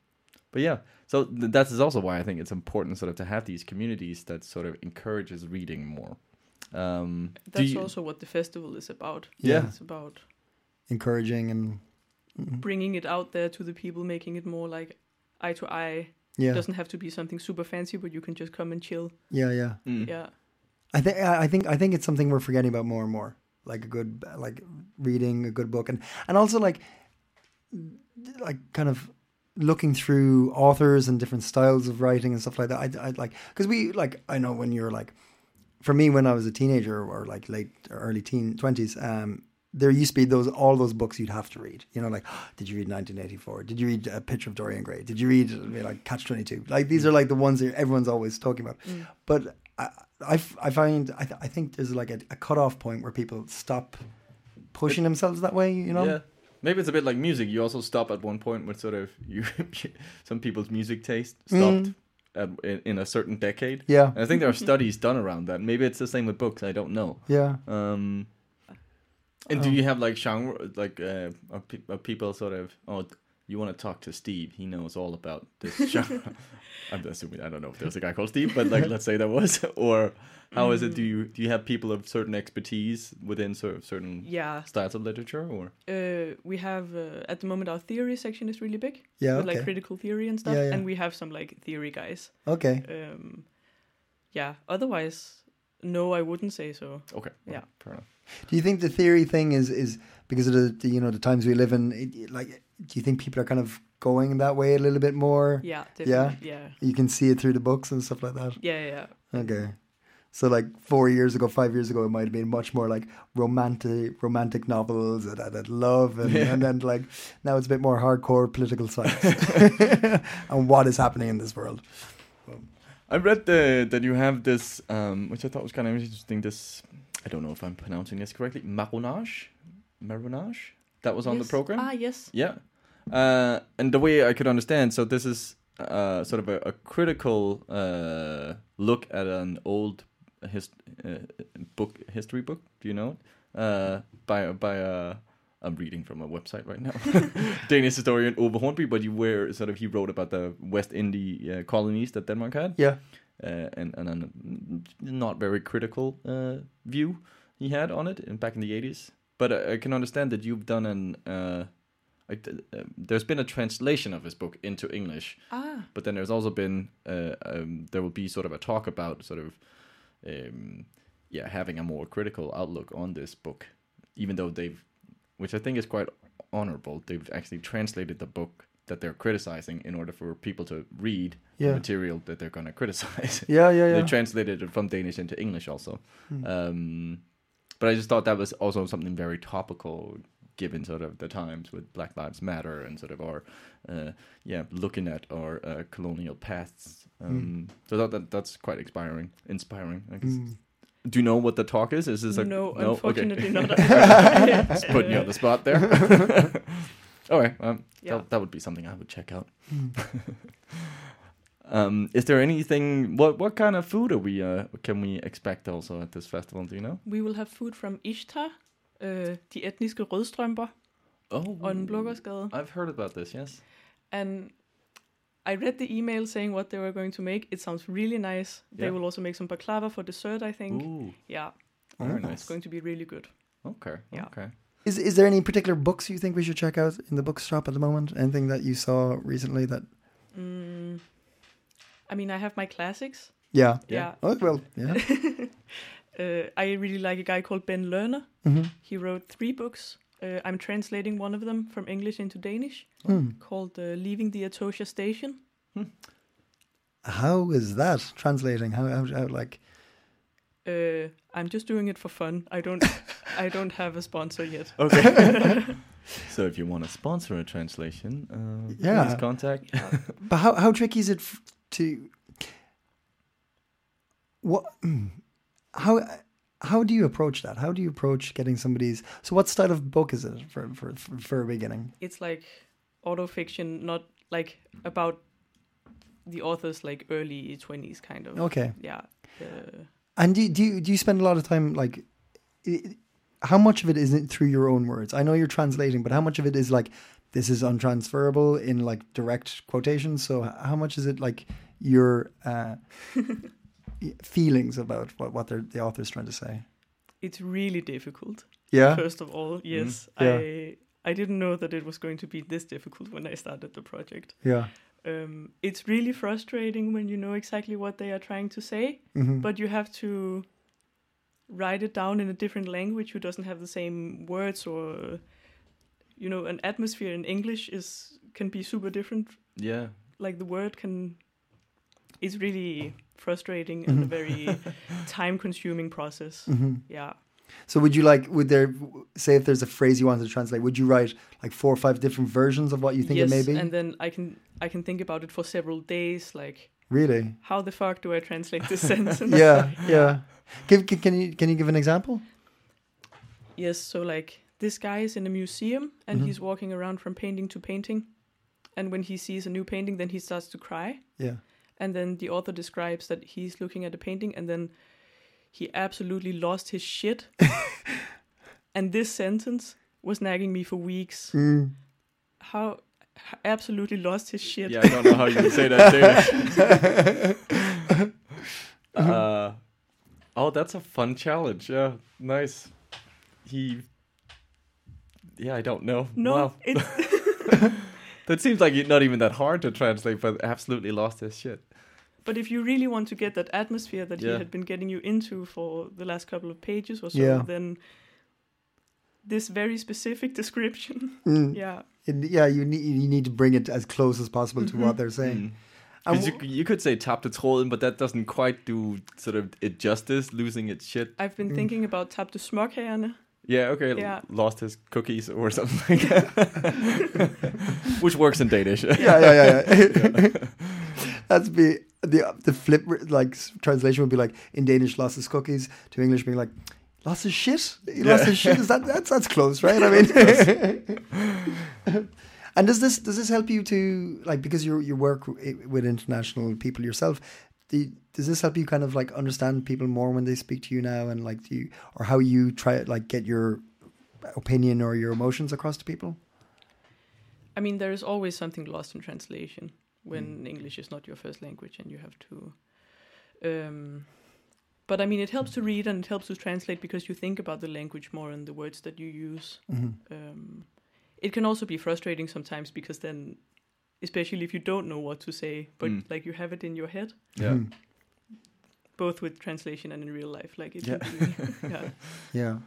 S2: but yeah, so th- that is also why I think it's important, sort of, to have these communities that sort of encourages reading more. Um, do
S5: that's
S2: you-
S5: also what the festival is about.
S2: Yeah.
S3: Mm-hmm.
S5: It's about
S3: encouraging and mm,
S5: bringing it out there to the people, making it more like eye to eye.
S3: yeah,
S5: doesn't have to be something super fancy, but you can just come and chill.
S3: yeah, yeah.
S2: Mm.
S5: Yeah.
S3: I think I I think I think it's something we're forgetting about more and more. Like a good like reading a good book and and also like like kind of looking through authors and different styles of writing and stuff like that. I I like because we like I know when you're like for me when I was a teenager or like late or early teen twenties, um, there used to be those all those books you'd have to read. You know, like did you read 1984? Did you read A Picture of Dorian Gray? Did you read you know, like Catch 22? Like these are like the ones that everyone's always talking about. But I, I f- I find I, th- I think there's like a, a cutoff point where people stop pushing themselves that way. You know,
S2: Yeah. Maybe it's a bit like music. You also stop at one point with sort of you, some people's music taste stopped at, in, in a certain decade.
S3: Mm. Yeah.
S2: And I think there are studies done around that. Maybe it's the same with books. I don't know.
S3: yeah.
S2: Um, and do you
S5: Um.
S2: have like genre, like uh, are, pe- are people sort of oh you want to talk to Steve? He knows all about this genre. I'm assuming I don't know if there's a guy called Steve, but like let's say there was. Or how is it? Do you do you have people of certain expertise within sort of certain
S5: Yeah.
S2: styles of literature? Or
S5: Uh, we have uh, at the moment our theory section is really big.
S3: Yeah,
S5: With
S3: okay.
S5: like critical theory and stuff,
S3: Yeah, yeah.
S5: and we have some like theory guys.
S3: Okay,
S5: Um, yeah. Otherwise, no, I wouldn't say so.
S2: okay,
S5: Yeah.
S2: fair enough.
S3: do you think the theory thing is is because of the, the you know the times we live in? It, like, do you think people are kind of going that way a little bit more?
S5: Yeah.
S3: Yeah?
S5: Definitely. Yeah.
S3: You can see it through the books and stuff like that.
S5: Yeah. Yeah. yeah.
S3: Okay. So like four years ago, five years ago, it might have been much more like romantic, romantic novels and, and, and love, and, and then like now it's a bit more hardcore political science and what is happening in this world.
S2: I read the, that you have this, um, which I thought was kind of interesting. This, I don't know if I'm pronouncing this correctly, marronage, marronage. That was on the
S5: Yes.
S2: program.
S5: Ah. Yes.
S2: Yeah. Uh, and the way I could understand, so this is uh, sort of a, a critical uh, look at an old his, uh, book, history book. Do you know? it? Uh, by by uh, I'm reading from a website right now. Danish historian Ove Hornby, but you were sort of he wrote about the West Indie uh, colonies that Denmark had
S3: Yeah.
S2: uh, and, and a not very critical uh, view he had on it in, back in the 80s. But I, I can understand that you've done an. Uh, I, uh, there's been a translation of his book into English,
S5: Ah.
S2: but then there's also been. Uh, um, there will be sort of a talk about sort of. Um, yeah, having a more critical outlook on this book, even though they've. Which I think is quite honorable. They've actually translated the book that they're criticizing in order for people to read
S3: Yeah.
S2: the material that they're going to criticize
S3: Yeah, yeah,
S2: they
S3: yeah.
S2: translated it from Danish into English also.
S3: Hmm.
S2: Um, but I just thought that was also something very topical, given sort of the times with Black Lives Matter and sort of our, uh, yeah, looking at our uh, colonial pasts.
S3: Hmm.
S2: Um, So I thought that that's quite inspiring. Inspiring. I
S3: Hmm.
S2: guess. Do you know what the talk is? Is this a
S5: no,
S2: Okay.
S5: Unfortunately not.
S2: Just putting you on the spot there. All right, um,
S5: Yeah. Hmm.
S2: that, that would be something I would check out. um, is there anything? What what kind of food are we? Uh, can we expect also at this festival? Do you know?
S5: We will have food from Ishtar, uh, de etniske rødstrømper
S2: Oh,
S5: og den blågårdsgade.
S2: I've heard about this. Yes.
S5: And I read the email saying what they were going to make. It sounds really nice. They
S2: Yeah.
S5: will also make some baklava for dessert, I think.
S2: Ooh,
S5: Yeah,
S2: very
S5: it's
S2: nice.
S5: going to be really good.
S2: Okay.
S5: Yeah.
S2: Okay.
S3: Is is there any particular books you think we should check out in the bookshop at the moment? Anything that you saw recently that?
S5: Mm. I mean, I have my classics.
S3: Yeah.
S2: Yeah.
S5: Yeah.
S3: Oh well. Yeah.
S5: Uh, I really like a guy called Ben Lerner.
S3: Mhm.
S5: He wrote three books. Uh, I'm translating one of them from English into Danish
S3: Hmm.
S5: called uh, Leaving the Atosha Station.
S3: How is that translating? How, how, how like?
S5: Uh, I'm just doing it for fun. I don't, I don't have a sponsor yet.
S2: Okay. so if you want to sponsor a translation, uh,
S3: Yeah.
S2: please contact.
S3: But how how tricky is it f- to what mm, how how do you approach that? How do you approach getting somebody's so what style of book is it for for for, for a beginning?
S5: It's like auto fiction, not like about the author's like early twenties kind of.
S3: Okay.
S5: Yeah. Uh,
S3: And do you- do you, do you spend a lot of time like i- how much of it is it through your own words? I know you're translating, but how much of it is like this is untransferable in like direct quotations? So h- how much is it like your uh, y- feelings about what what they're, the author's trying to say?
S5: it's really difficult.
S3: Yeah. Mm-hmm.
S5: First of all, yes,
S3: Yeah.
S5: I I didn't know that it was going to be this difficult when I started the project.
S3: Yeah.
S5: Um, it's really frustrating when you know exactly what they are trying to say,
S3: Mm-hmm.
S5: but you have to write it down in a different language who doesn't have the same words or you know an atmosphere in english is can be super different
S2: yeah.
S5: like the word can is
S3: Mm-hmm.
S5: really frustrating and a very time consuming process yeah
S3: So would you like would there say if there's a phrase you want to translate? Would you write like four or five different versions of what you think
S5: yes,
S3: it may be?
S5: and then I can I can think about it for several days. Like,
S3: really?
S5: how the fuck do I translate this sentence?
S3: Yeah, yeah. Give, can, can you can you give an example?
S5: Yes, so like this guy is in a museum and he's walking around from painting to painting. And when he sees a new painting, then he starts to cry.
S3: Yeah.
S5: And then the author describes that he's looking at a painting and then he absolutely lost his shit. and this sentence was nagging me for weeks.
S3: Hmm. Mm,
S5: How h- absolutely lost his shit.
S2: Yeah, I don't know how you say that. Danish.
S5: Mm-hmm.
S2: uh, oh, that's a fun challenge. Yeah, nice. He. Yeah, I don't know.
S5: No,
S2: Wow.
S5: it's
S2: that seems like it- not even that hard to translate, but absolutely lost his shit.
S5: but if you really want to get that atmosphere that
S2: Yeah.
S5: he had been getting you into for the last couple of pages or so,
S3: Yeah.
S5: then this very specific description.
S3: Mm.
S5: yeah.
S3: It- yeah, you need you need to bring it as close as possible to what they're saying.
S2: Mm-hmm. Mm. Hmm. 'Cause you, you could say top the trollen, but that doesn't quite do sort of it justice, losing its shit.
S5: I've been thinking about Tabte Smokherne,
S2: Yeah, okay, l-
S5: Yeah.
S2: lost his cookies or something like that. Which works in Danish.
S3: yeah, yeah, yeah. yeah. That's be the the flip like s- translation would be like in Danish lost his cookies to English being like lost his shit. He lost his shit. Is that that's that's close, right? I mean. And does this does this help you to like because you you work i- with international people yourself? Do, does this help you kind of like understand people more when they speak to you now and like do you or how you try like get your opinion or your emotions across to people?
S5: I mean, there is always something lost in translation when
S2: Mm.
S5: English is not your first language and you have to. Um, but I mean, it helps to read and it helps to translate because you think about the language more and the words that you use.
S2: Mm-hmm.
S5: Um, it can also be frustrating sometimes because then, especially if you don't know what to say, but
S2: Mm.
S5: like you have it in your head,
S3: Hmm.
S2: yeah.
S5: both with translation and in real life. Like it
S2: Yeah.
S5: can be, yeah.
S3: Yeah.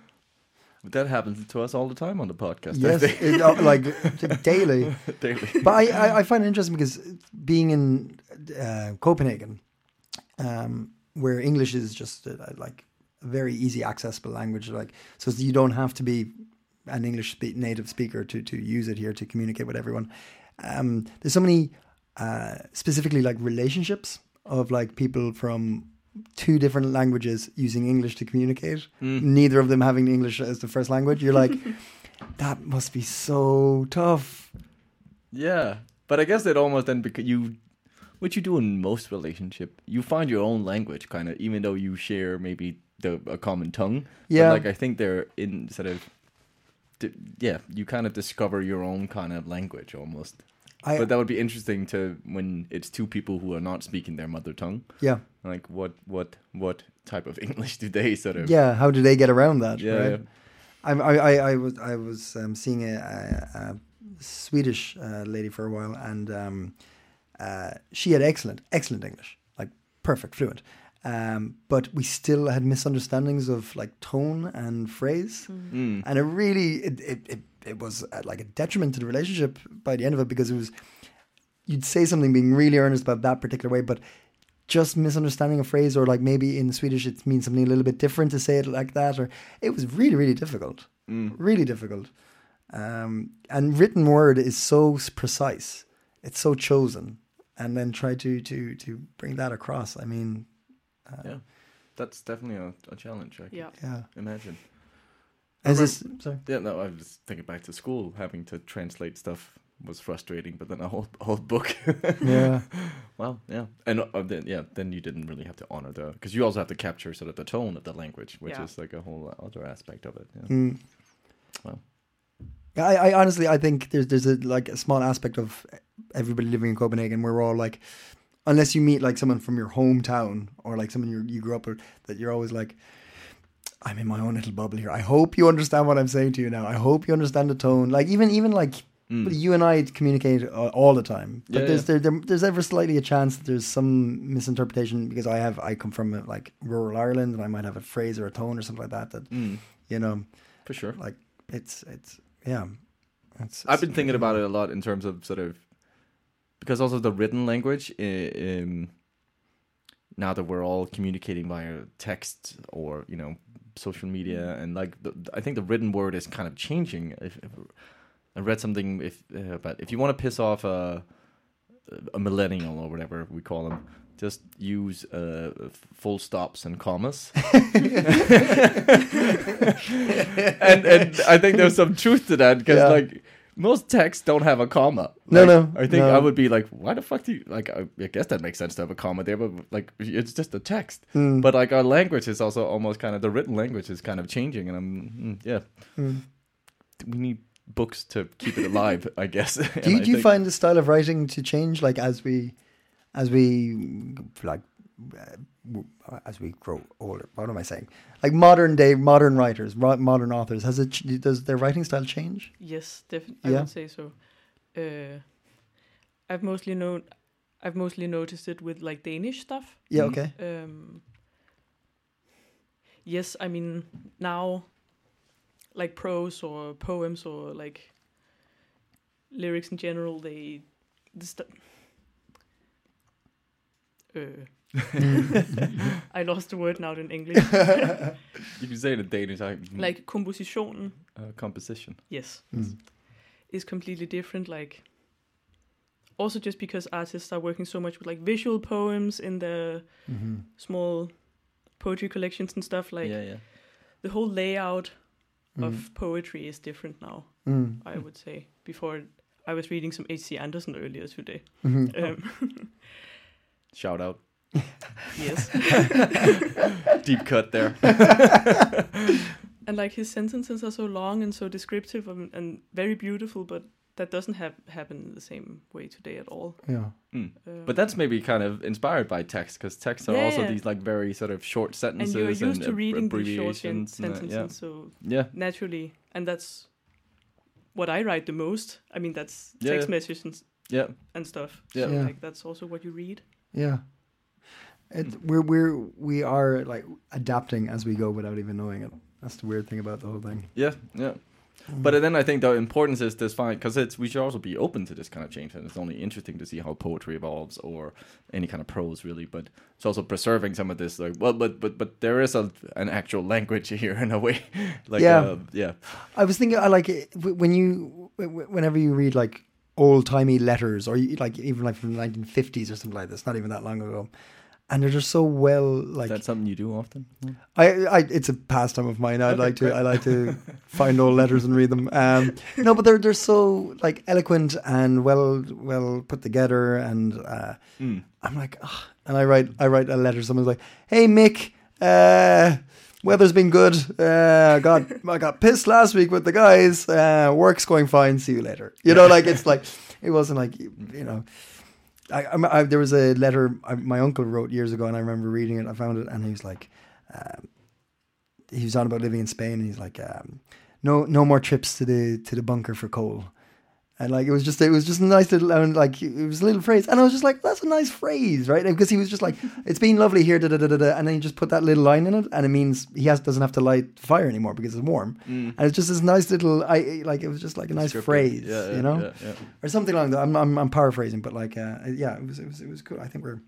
S2: That happens to us all the time on the podcast. I
S3: Yes,
S2: think,
S3: it, uh, like daily.
S2: daily.
S3: But I, I, I find it interesting because being in uh, Copenhagen, um, where English is just uh, like a very easy accessible language, like so you don't have to be an English spe- native speaker to to use it here to communicate with everyone. Um, there's so many uh, specifically like relationships of like people from two different languages using English to communicate,
S2: Hmm.
S3: neither of them having English as the first language. You're like, that must be so tough.
S2: Yeah, but I guess that almost then because you, what you do in most relationship, you find your own language kind of, even though you share maybe the a common tongue. But,
S3: Yeah.
S2: like I think they're in sort of, d- yeah, you kind of discover your own kind of language almost.
S3: I-
S2: but that would be interesting to when it's two people who are not speaking their mother tongue.
S3: Yeah.
S2: Like what what what type of English do they sort of?
S3: Yeah, how do they get around that?
S2: Yeah,
S3: right?
S2: yeah.
S3: I, I, I, I was I was um, seeing a, a, a Swedish uh, lady for a while, and um, uh, she had excellent excellent English, like perfect, fluent. Um, but we still had misunderstandings of like tone and phrase,
S2: Mm.
S3: and it really it it, it, it was uh, like a detriment to the relationship by the end of it because it was you'd say something being really earnest about that particular way, but just misunderstanding a phrase or like maybe in Swedish it means something a little bit different to say it like that or it was really really difficult
S2: Mm.
S3: really difficult um, and written word is so s- precise it's so chosen and then try to to to bring that across I mean
S2: Yeah. That's definitely a, a challenge. I can
S5: yeah.
S3: yeah
S2: imagine.
S3: is this sorry
S2: Yeah, no, I was thinking back to school, having to translate stuff was frustrating, but then a whole whole book.
S3: yeah
S2: wow, yeah, and uh, then yeah, then you didn't really have to honor the because you also have to capture sort of the tone of the language, which
S5: Yeah.
S2: is like a whole other aspect of it. Yeah.
S3: Mm.
S2: Wow.
S3: Yeah, I, I honestly I think there's there's a like a small aspect of everybody living in Copenhagen where we're all like unless you meet like someone from your hometown or like someone you you grew up with that you're always like I'm in my own little bubble here. I hope you understand what I'm saying to you now. I hope you understand the tone. Like even even like you and I communicate uh, all the time. But
S2: Mm. Yeah,
S3: there's There,
S2: yeah.
S3: there there's ever slightly a chance that there's some misinterpretation because I have I come from like rural Ireland and I might have a phrase or a tone or something like that that you know
S2: Mm. For sure,
S3: like it's it's yeah it's,
S2: I've been thinking about it a lot in terms of sort of because also the written language, i- um, now that we're all communicating via text or you know social media
S3: Mm-hmm.
S2: and like the, I think the written word is kind of changing. If, if I read something if uh, about if you want to piss off a a millennial or whatever we call them, just use uh, f- full stops and commas. and and I think there's some truth to that because
S3: Yeah.
S2: like most texts don't have a comma.
S3: No,
S2: Like,
S3: no,
S2: I think
S3: no.
S2: I would be like, why the fuck do you like? I, I guess that makes sense to have a comma there, but like it's just a text.
S3: Hmm. Mm,
S2: But like our language is also almost kind of the written language is kind of changing, and I'm mm, yeah. We need books to keep it alive, I guess.
S3: Do you, do you find the style of writing to change, like as we, as we, like, uh, w- as we grow older? What am I saying? Like modern day, modern writers, ro- modern authors, has it? ch- Does their writing style change?
S5: Yes, definitely. I
S3: Yeah.
S5: would say so. Uh, I've mostly known, I've mostly noticed it with like Danish stuff.
S3: Yeah.
S2: Mm.
S3: Okay.
S5: Um, yes, I mean now, like prose or poems or like lyrics in general, they the st- uh, I lost the word now in English.
S2: You can say it in Danish. I, hmm,
S5: like compositionen,
S2: uh, composition.
S5: yes,
S3: Mm.
S5: is completely different. Like also just because artists are working so much with like visual poems in their
S3: Mm-hmm.
S5: small poetry collections and stuff. Like
S2: yeah, Mm-hmm. yeah.
S5: the whole layout
S3: Mm-hmm.
S5: of poetry is different now.
S3: Mm.
S2: Hmm.
S5: I would say before I was reading some H.C. Andersen earlier today.
S3: Mhm.
S2: Oh,
S5: Um,
S2: Shout out.
S5: yes,
S2: Deep cut there.
S5: and like his sentences are so long and so descriptive and, and very beautiful, but that doesn't have happen in the same way today at all.
S3: Yeah.
S2: Mm.
S5: Um,
S2: But that's maybe kind of inspired by text because texts are
S5: Yeah,
S2: also
S5: yeah.
S2: these like very sort of short
S5: Um, and
S2: sentences
S5: you're used to
S2: ab-
S5: reading these short sen-
S2: abbreviations and that,
S5: sentences, so
S2: yeah. yeah.
S5: naturally, and that's what I write the most. I mean, that's
S2: Yeah,
S5: text
S2: yeah.
S5: messages and, s-
S2: Yeah.
S5: and stuff.
S2: Yeah.
S5: So,
S3: Yeah.
S5: like that's also what you read.
S3: Yeah.
S2: Mm.
S3: It, we're we're we are like adapting as we go without even knowing it. That's the weird thing about the whole thing.
S2: Yeah, yeah. But then I think the importance is this fine because it's we should also be open to this kind of change, and it's only interesting to see how poetry evolves or any kind of prose really. But it's also preserving some of this like well, but but but there is a an actual language here in a way, like
S3: Yeah.
S2: uh, yeah,
S3: I was thinking, I like it- wh- when you, wh- wh- whenever you read like old timey letters, or you, like even like from the nineteen fifties or something like this, not even that long ago, and they're just so well like. Hmm.
S2: that's something you do often.
S3: I, I, it's a pastime of mine. I would like to, I like to find old letters and read them. Um, no, but they're they're so like eloquent and well well put together, and uh,
S2: Hmm.
S3: I'm like, ah and I write I write a letter. Someone's like, "Hey Mick, uh, weather's been good. Uh, I got I got pissed last week with the guys. Uh, work's going fine. See you later." You know, like it's like it wasn't like you know. I, I'm- I, there was a letter I, my uncle wrote years ago, and I remember reading it. I found it, and he was like, um, he was on about living in Spain, and he's like, um, no, no more trips to the to the bunker for coal, and like it was just it was just a nice little and like it was a little phrase, and I was just like, that's a nice phrase, right? Because he was just like, it's been lovely here, da da da da, da, and then he just put that little line in it, and it means he has doesn't have to light the fire anymore because it's warm, and it's just this nice little, I like it was just like a nice
S2: Descriptive.
S3: phrase,
S2: Yeah, yeah,
S3: you know
S2: yeah, yeah.
S3: or something along that. I'm, I'm, I'm paraphrasing, but like, uh, yeah, it was, it was, it was cool. I think we're,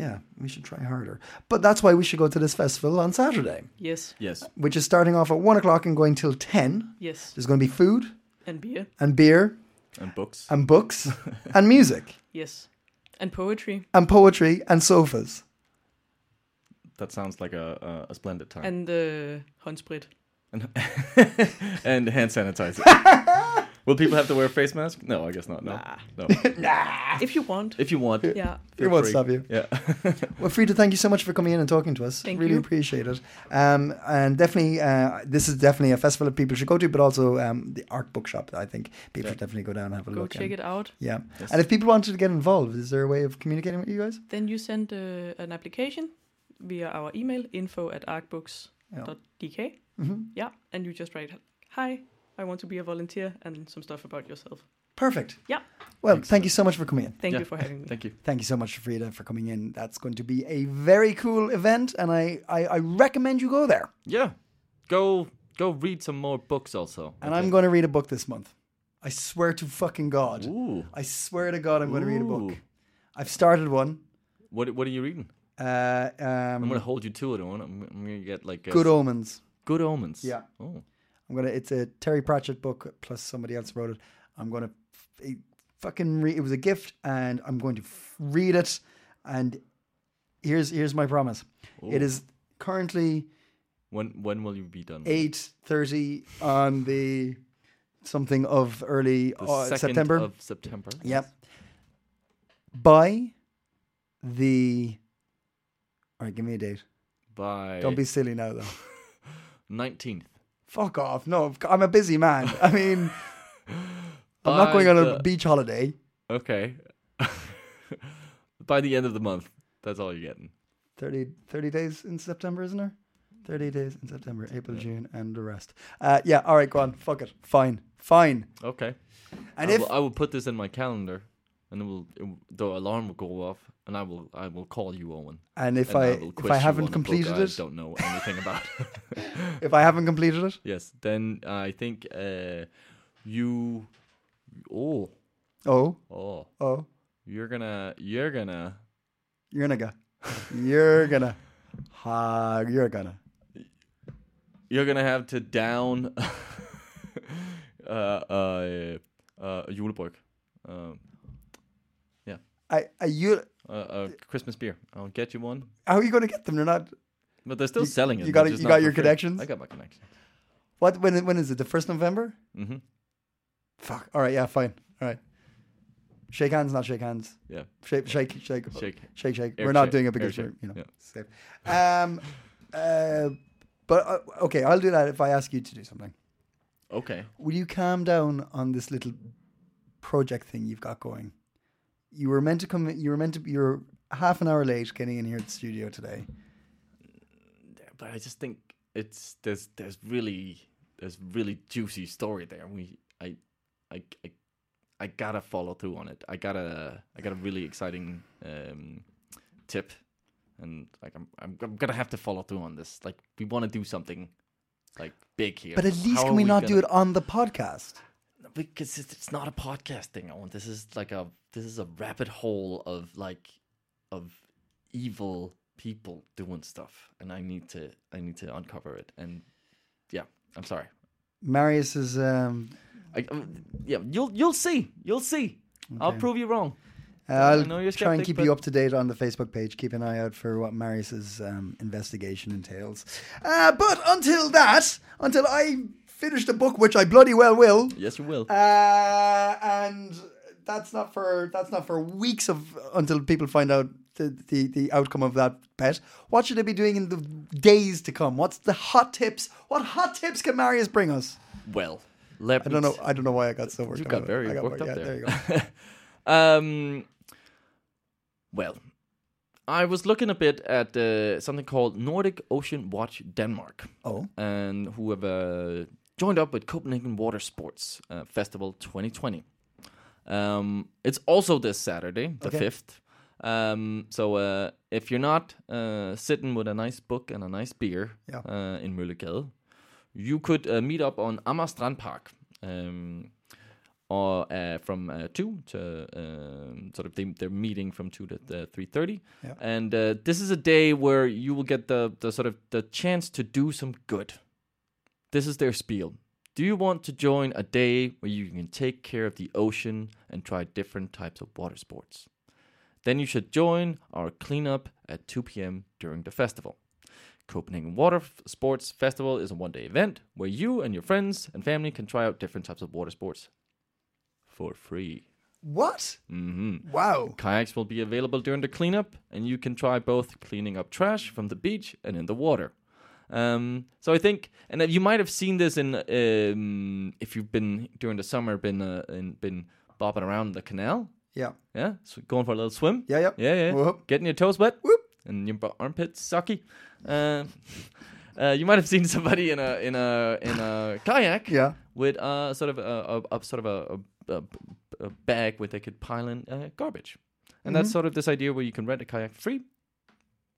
S3: yeah, we should try harder. But that's why we should go to this festival on Saturday,
S5: Yes,
S2: Yes,
S3: which is starting off at one o'clock and going till ten.
S5: yes,
S3: There's going to be food
S5: and beer.
S3: and beer
S2: and books.
S3: and books and music
S5: Yes, and poetry
S3: and poetry and sofas.
S2: that sounds like a a, a splendid time.
S5: and uh, håndsprit.
S2: And, and hand sanitizer. Will people have to wear face masks? No, I guess not. No, no.
S5: If you want,
S2: If you want,
S5: yeah.
S3: It won't stop you.
S2: Yeah.
S3: Well, Frida, thank you so much for coming in and talking to us.
S5: Thank
S3: really
S5: you.
S3: appreciate it. Um, and definitely, uh, this is definitely a festival that people should go to, but also um, the art bookshop. I think people should definitely go down and have a
S5: Go
S3: look.
S5: check
S3: and-
S5: it out.
S3: Yeah. And if people wanted to get involved, is there a way of communicating with you guys?
S5: Then you send uh, an application via our email info at arcbooks.dk.
S3: Mm-hmm.
S5: Yeah, and you just write, hi, I want to be a volunteer, and some stuff about yourself.
S3: Perfect.
S5: Yeah.
S3: Well, thank you
S2: uh,
S3: so much for coming in.
S5: Thank
S2: Yeah.
S5: you for having me.
S2: Thank you.
S3: Thank you so much, Frida, for coming in. That's going to be a very cool event, and I, I, I recommend you go there.
S2: Yeah. Go go read some more books also.
S3: And I'm going to read a book this month. I swear to fucking God.
S2: Ooh.
S3: I swear to God, I'm going to read a book.
S2: Ooh.
S3: I've started one.
S2: What what are you reading?
S3: Uh, um,
S2: I'm gonna hold you to it, Owen. I'm, I'm gonna get like a
S3: Good Omens.
S2: Good omens.
S3: Yeah.
S2: Oh.
S3: I'm gonna. It's a Terry Pratchett book plus somebody else wrote it. I'm gonna f- eh, fucking. Re- it was a gift, and I'm going to f- read it. And here's here's my promise. It is currently
S2: When when will you be done? with it?
S3: eight thirty on the something of early
S2: The
S3: uh,
S2: 2nd
S3: September.
S2: of September.
S3: Yep. By the. All right, give me a date.
S2: By
S3: Don't be silly now, though.
S2: 19th.
S3: Fuck off. No, I'm a busy man. I mean, I'm not going on a beach holiday.
S2: Okay. By the end of the month, that's all you're getting.
S3: 30, 30 days in September, isn't there? 30 days in September, April, June, and the rest. Uh, yeah, all right, go on. Fuck it. Fine. Fine.
S2: Okay.
S3: And
S2: I,
S3: if.
S2: will, I will put this in my calendar, and it will, it will- the alarm will go off, and I will I will call you, Owen.
S3: and if
S2: and
S3: I,
S2: will
S3: if
S2: quiz
S3: I
S2: you
S3: haven't
S2: on a book
S3: completed
S2: I
S3: it,
S2: don't know anything about.
S3: if I haven't completed it,
S2: yes. Then I think uh, you. Oh,
S3: oh,
S2: oh,
S3: oh,
S2: you're gonna you're gonna
S3: you're gonna go. You're gonna. Ha, you're gonna.
S2: you're gonna have to down uh uh uh a julebryg. Um
S3: I, I, you,
S2: a, a uh, Christmas beer. I'll get you one.
S3: how are you going to get them? They're not.
S2: But they're still
S3: You-
S2: selling it.
S3: you got
S2: they're
S3: it-
S2: just
S3: you
S2: not
S3: got
S2: for
S3: your
S2: free.
S3: connections?
S2: I got my connections.
S3: What? When? When is it? The first November?
S2: hmm
S3: Fuck. All right. Yeah. Fine. All right. Shake hands, not shake hands.
S2: Yeah.
S3: Shake, shake, shake,
S2: Shake.
S3: shake, shake.
S2: Air
S3: Uh, We're not
S2: shake,
S3: doing it
S2: air
S3: because
S2: shake,
S3: we're, you know,
S2: yeah.
S3: safe. Um, uh, but uh, okay, I'll do that if I ask you to do something.
S2: Okay.
S3: Will you calm down on this little project thing you've got going? You were meant to come. You were meant to. You're half an hour late getting in here at the studio today.
S2: But I just think it's there's there's really there's really juicy story there. We I I I, I gotta follow through on it. I gotta I got a really exciting um tip. And like I'm, I'm, I'm gonna have to follow through on this. Like we want to do something, like big here.
S3: But at least
S2: How
S3: can
S2: are
S3: we not
S2: gonna-
S3: do it on the podcast?
S2: because it's, it's not a podcast thing. I want this is like a this is a rabbit hole of like of evil people doing stuff, and I need to I need to uncover it. And yeah, I'm sorry.
S3: Marius is. Um,
S2: I, I- yeah, you'll you'll see, you'll see. I'll prove you wrong.
S3: Uh, I'll
S2: know you're
S3: try and
S2: skeptic,
S3: keep
S2: but-
S3: you up to date on the Facebook page. Keep an eye out for what Marius's um, investigation entails. Uh, but until that, until I finish the book, which I bloody well will,
S2: Yes, you will.
S3: uh, and that's not for that's not for weeks of until people find out the, the the outcome of that bet. What should they be doing in the days to come? What's the hot tips? What hot tips can Marius bring us?
S2: well, let
S3: I don't know. I don't know why I got so worked.
S2: You
S3: up
S2: got
S3: about it.
S2: very
S3: I
S2: worked up
S3: yeah,
S2: there.
S3: you go.
S2: um, well, I was looking a bit at uh, something called Nordic Ocean Watch Denmark.
S3: Oh.
S2: And who have uh, joined up with Copenhagen Water Sports uh, Festival 2020. Um, it's also this Saturday, the
S3: Okay.
S2: 5th. Um, so uh, if you're not uh, sitting with a nice book and a nice beer
S3: Yeah.
S2: uh, in Møllegade, you could uh, meet up on Amager Strand Park. Um, or uh, from uh, two to um, sort of they, they're meeting from two to uh, three thirty,
S3: Yeah.
S2: and uh, this is a day where you will get the the sort of the chance to do some good. This is their spiel. Do you want to join a day where you can take care of the ocean and try different types of water sports? Then you should join our cleanup at 2 p.m. during the festival. Copenhagen Water F- Sports Festival is a one day event where you and your friends and family can try out different types of water sports for free.
S3: What?
S2: hmm
S3: Wow.
S2: Kayaks will be available during the cleanup, and you can try both cleaning up trash from the beach and in the water. Um, so I think, and you might have seen this in um, if you've been during the summer been uh, in, been bobbing around the canal,
S3: Yeah.
S2: yeah, so going for a little swim,
S3: Yeah. Yep.
S2: yeah, yeah,
S3: Whoop.
S2: getting your toes wet,
S3: Whoop.
S2: and your bu- armpits sucky. Uh, uh, you might have seen somebody in a in a in a kayak,
S3: Yeah.
S2: with uh sort of a, a, a sort of a, a, a- a bag where they could pile in uh, garbage, and that's sort of this idea where you can rent a kayak free.
S3: Mm-hmm.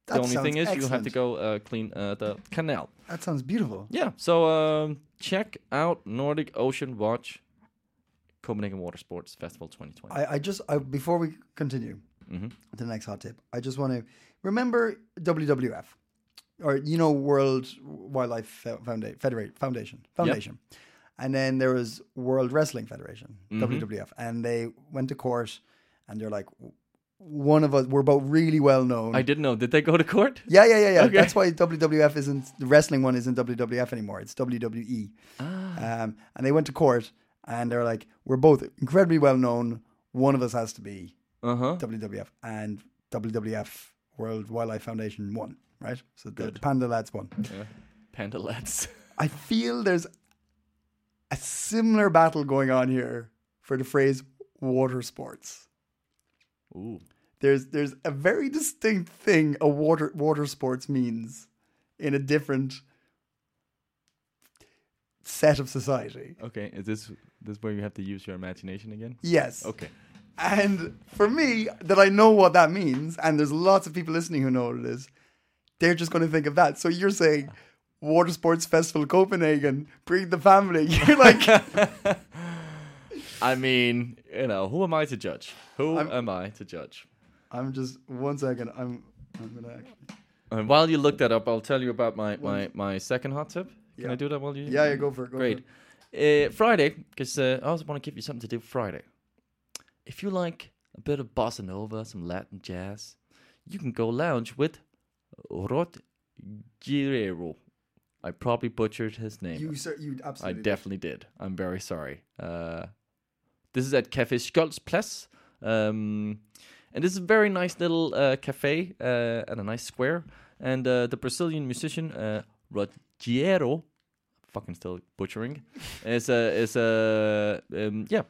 S3: That
S2: the only thing is
S3: sounds
S2: you have to
S3: excellent.
S2: go uh, clean uh, the canal.
S3: That sounds beautiful.
S2: Yeah, so um, check out Nordic Ocean Watch, Copenhagen Water Sports Festival 2020.
S3: I, I just I, before we continue
S2: Mhm.
S3: to the next hot tip, I just want to Remember WWF, or you know World Wildlife Foundation Foundation Foundation, and then there was World Wrestling Federation
S2: Mm-hmm.
S3: WWF, and they went to court, and they're like, "W- one of us we're both really well known.
S2: I didn't know. Did they go to court?
S3: yeah, yeah, yeah, yeah.
S2: Okay.
S3: That's why WWF isn't the wrestling one isn't WWF anymore. It's WWE. Um, and they went to court, and they're like, "We're both incredibly well known. One of us has to be
S2: Uh huh.
S3: WWF and WWF World Wildlife Foundation won, right? So the Panda Lads won.
S2: Panda lads.
S3: I feel there's a similar battle going on here for the phrase water sports.
S2: Ooh.
S3: There's there's a very distinct thing a water water sports means in a different set of society.
S2: Okay. Is this this where you have to use your imagination again?
S3: Yes.
S2: Okay.
S3: And for me, that I know what that means, and there's lots of people listening who know what it is, they're just going to think of that. So you're saying, Water Sports Festival Copenhagen, bring the family. You're like,
S2: I mean, you know, who am I to judge? Who
S3: I'm-
S2: am I to judge?
S3: I'm just, one second, I'm, I'm going to actually.
S2: And while you look that up, I'll tell you about my my, my second hot tip. Can I
S3: Yeah.
S2: do that while you?
S3: Yeah, yeah, go for it. Go
S2: Great.
S3: For it.
S2: Uh, Friday, because uh, I also want to give you something to do Friday. If you like a bit of bossa nova, some Latin jazz, you can go lounge with Rod Girero. I probably butchered his name.
S3: You, sir, you
S2: I
S3: absolutely.
S2: definitely did. I'm very sorry. Uh, this is at Cafe Skjoldsplatz. Um, and this is a very nice little uh, cafe uh, and a nice square. And uh, the Brazilian musician uh, Rogério, fucking still butchering, is uh, is uh, um, yeah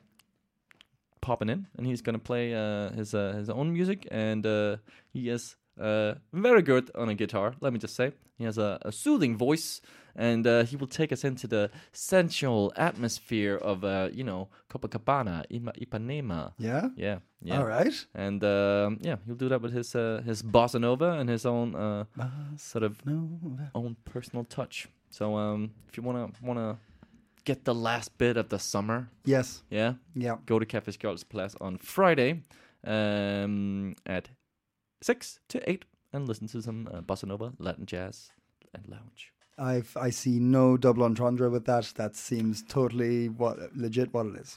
S2: popping in, and he's gonna play uh, his uh, his own music, and uh, he is uh, very good on a guitar. Let me just say, he has a, a soothing voice, and uh, he will take us into the sensual atmosphere of uh, you know Copacabana, Ima- Ipanema.
S3: Yeah?
S2: Yeah, yeah.
S3: All right.
S2: And um, yeah, he'll do that with his uh, his bossa nova and his own uh, sort of own personal touch. So um, if you wanna wanna get the last bit of the summer,
S3: Yes.
S2: yeah,
S3: Yeah.
S2: go to Cafe Girls Plus on Friday um, at six to eight and listen to some uh, bossa nova, Latin jazz, and lounge.
S3: i I see no double entendre with that. That seems totally what legit what it is.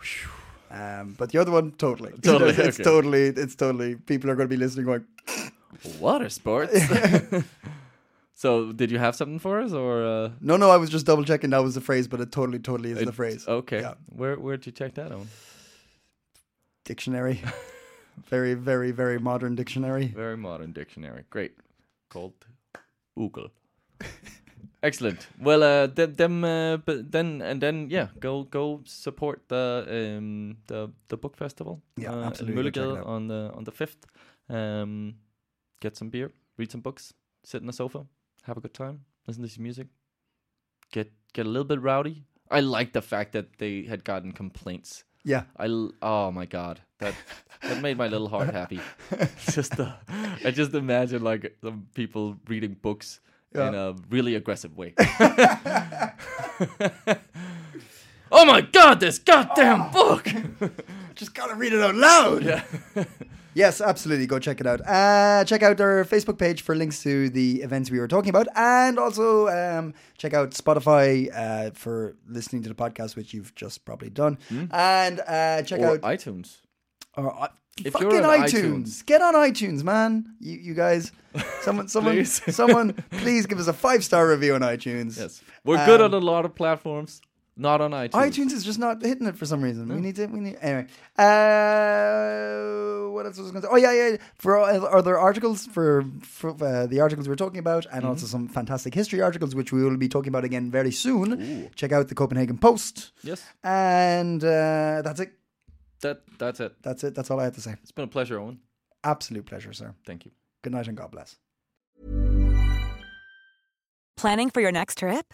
S3: Um, but the other one, totally.
S2: Totally,
S3: it's
S2: okay.
S3: totally, it's totally, people are going to be listening going,
S2: Water sports. so did you have something for us or? Uh,
S3: No, no, I was just double checking that was the phrase, but it totally, totally is the
S2: it-
S3: phrase.
S2: Okay.
S3: Yeah.
S2: Where where'd you check that on?
S3: Dictionary. very, very, very modern dictionary.
S2: Very modern dictionary. Great. Called Google. Excellent. Well, uh, th- them, uh, but then and then, yeah, go go support the um the the book festival.
S3: Yeah,
S2: uh, in
S3: absolutely, go check it
S2: Mölndal
S3: out.
S2: on the on the fifth. Um, get some beer, read some books, sit on the sofa, have a good time, listen to some music, get get a little bit rowdy. I like the fact that they had gotten complaints
S3: Yeah.
S2: I l- oh my god, that that made my little heart happy. just the, I just imagine like some people reading books in a really aggressive way. oh my god, this
S3: Ah.
S2: goddamn book!
S3: Just gotta read it out loud. yes, absolutely. Go check it out. Uh, check out our Facebook page for links to the events we were talking about, and also um, check out Spotify uh, for listening to the podcast, which you've just probably done, and uh, check
S2: Hmm. or
S3: out
S2: iTunes.
S3: or i-
S2: If
S3: fucking
S2: you're on
S3: iTunes.
S2: iTunes.
S3: Get on iTunes, man. You, you guys, someone, someone,
S2: Please.
S3: someone, please give us a five star review on iTunes.
S2: Yes, we're good on
S3: Um,
S2: a lot of platforms, not on iTunes.
S3: iTunes is just not hitting it for some reason. We need to. We need anyway. Uh, what else was I going to say? Oh yeah, yeah. For all- are there articles for, for uh, the articles we're talking about, and also some fantastic history articles which we will be talking about again very soon. Check out the Copenhagen Post,
S2: Yes,
S3: and uh, that's it.
S2: that that's it.
S3: That's it. That's all I have to say.
S2: It's been a pleasure, Owen.
S3: Absolute pleasure, sir.
S2: Thank you.
S3: Good night and God bless.
S6: Planning for your next trip?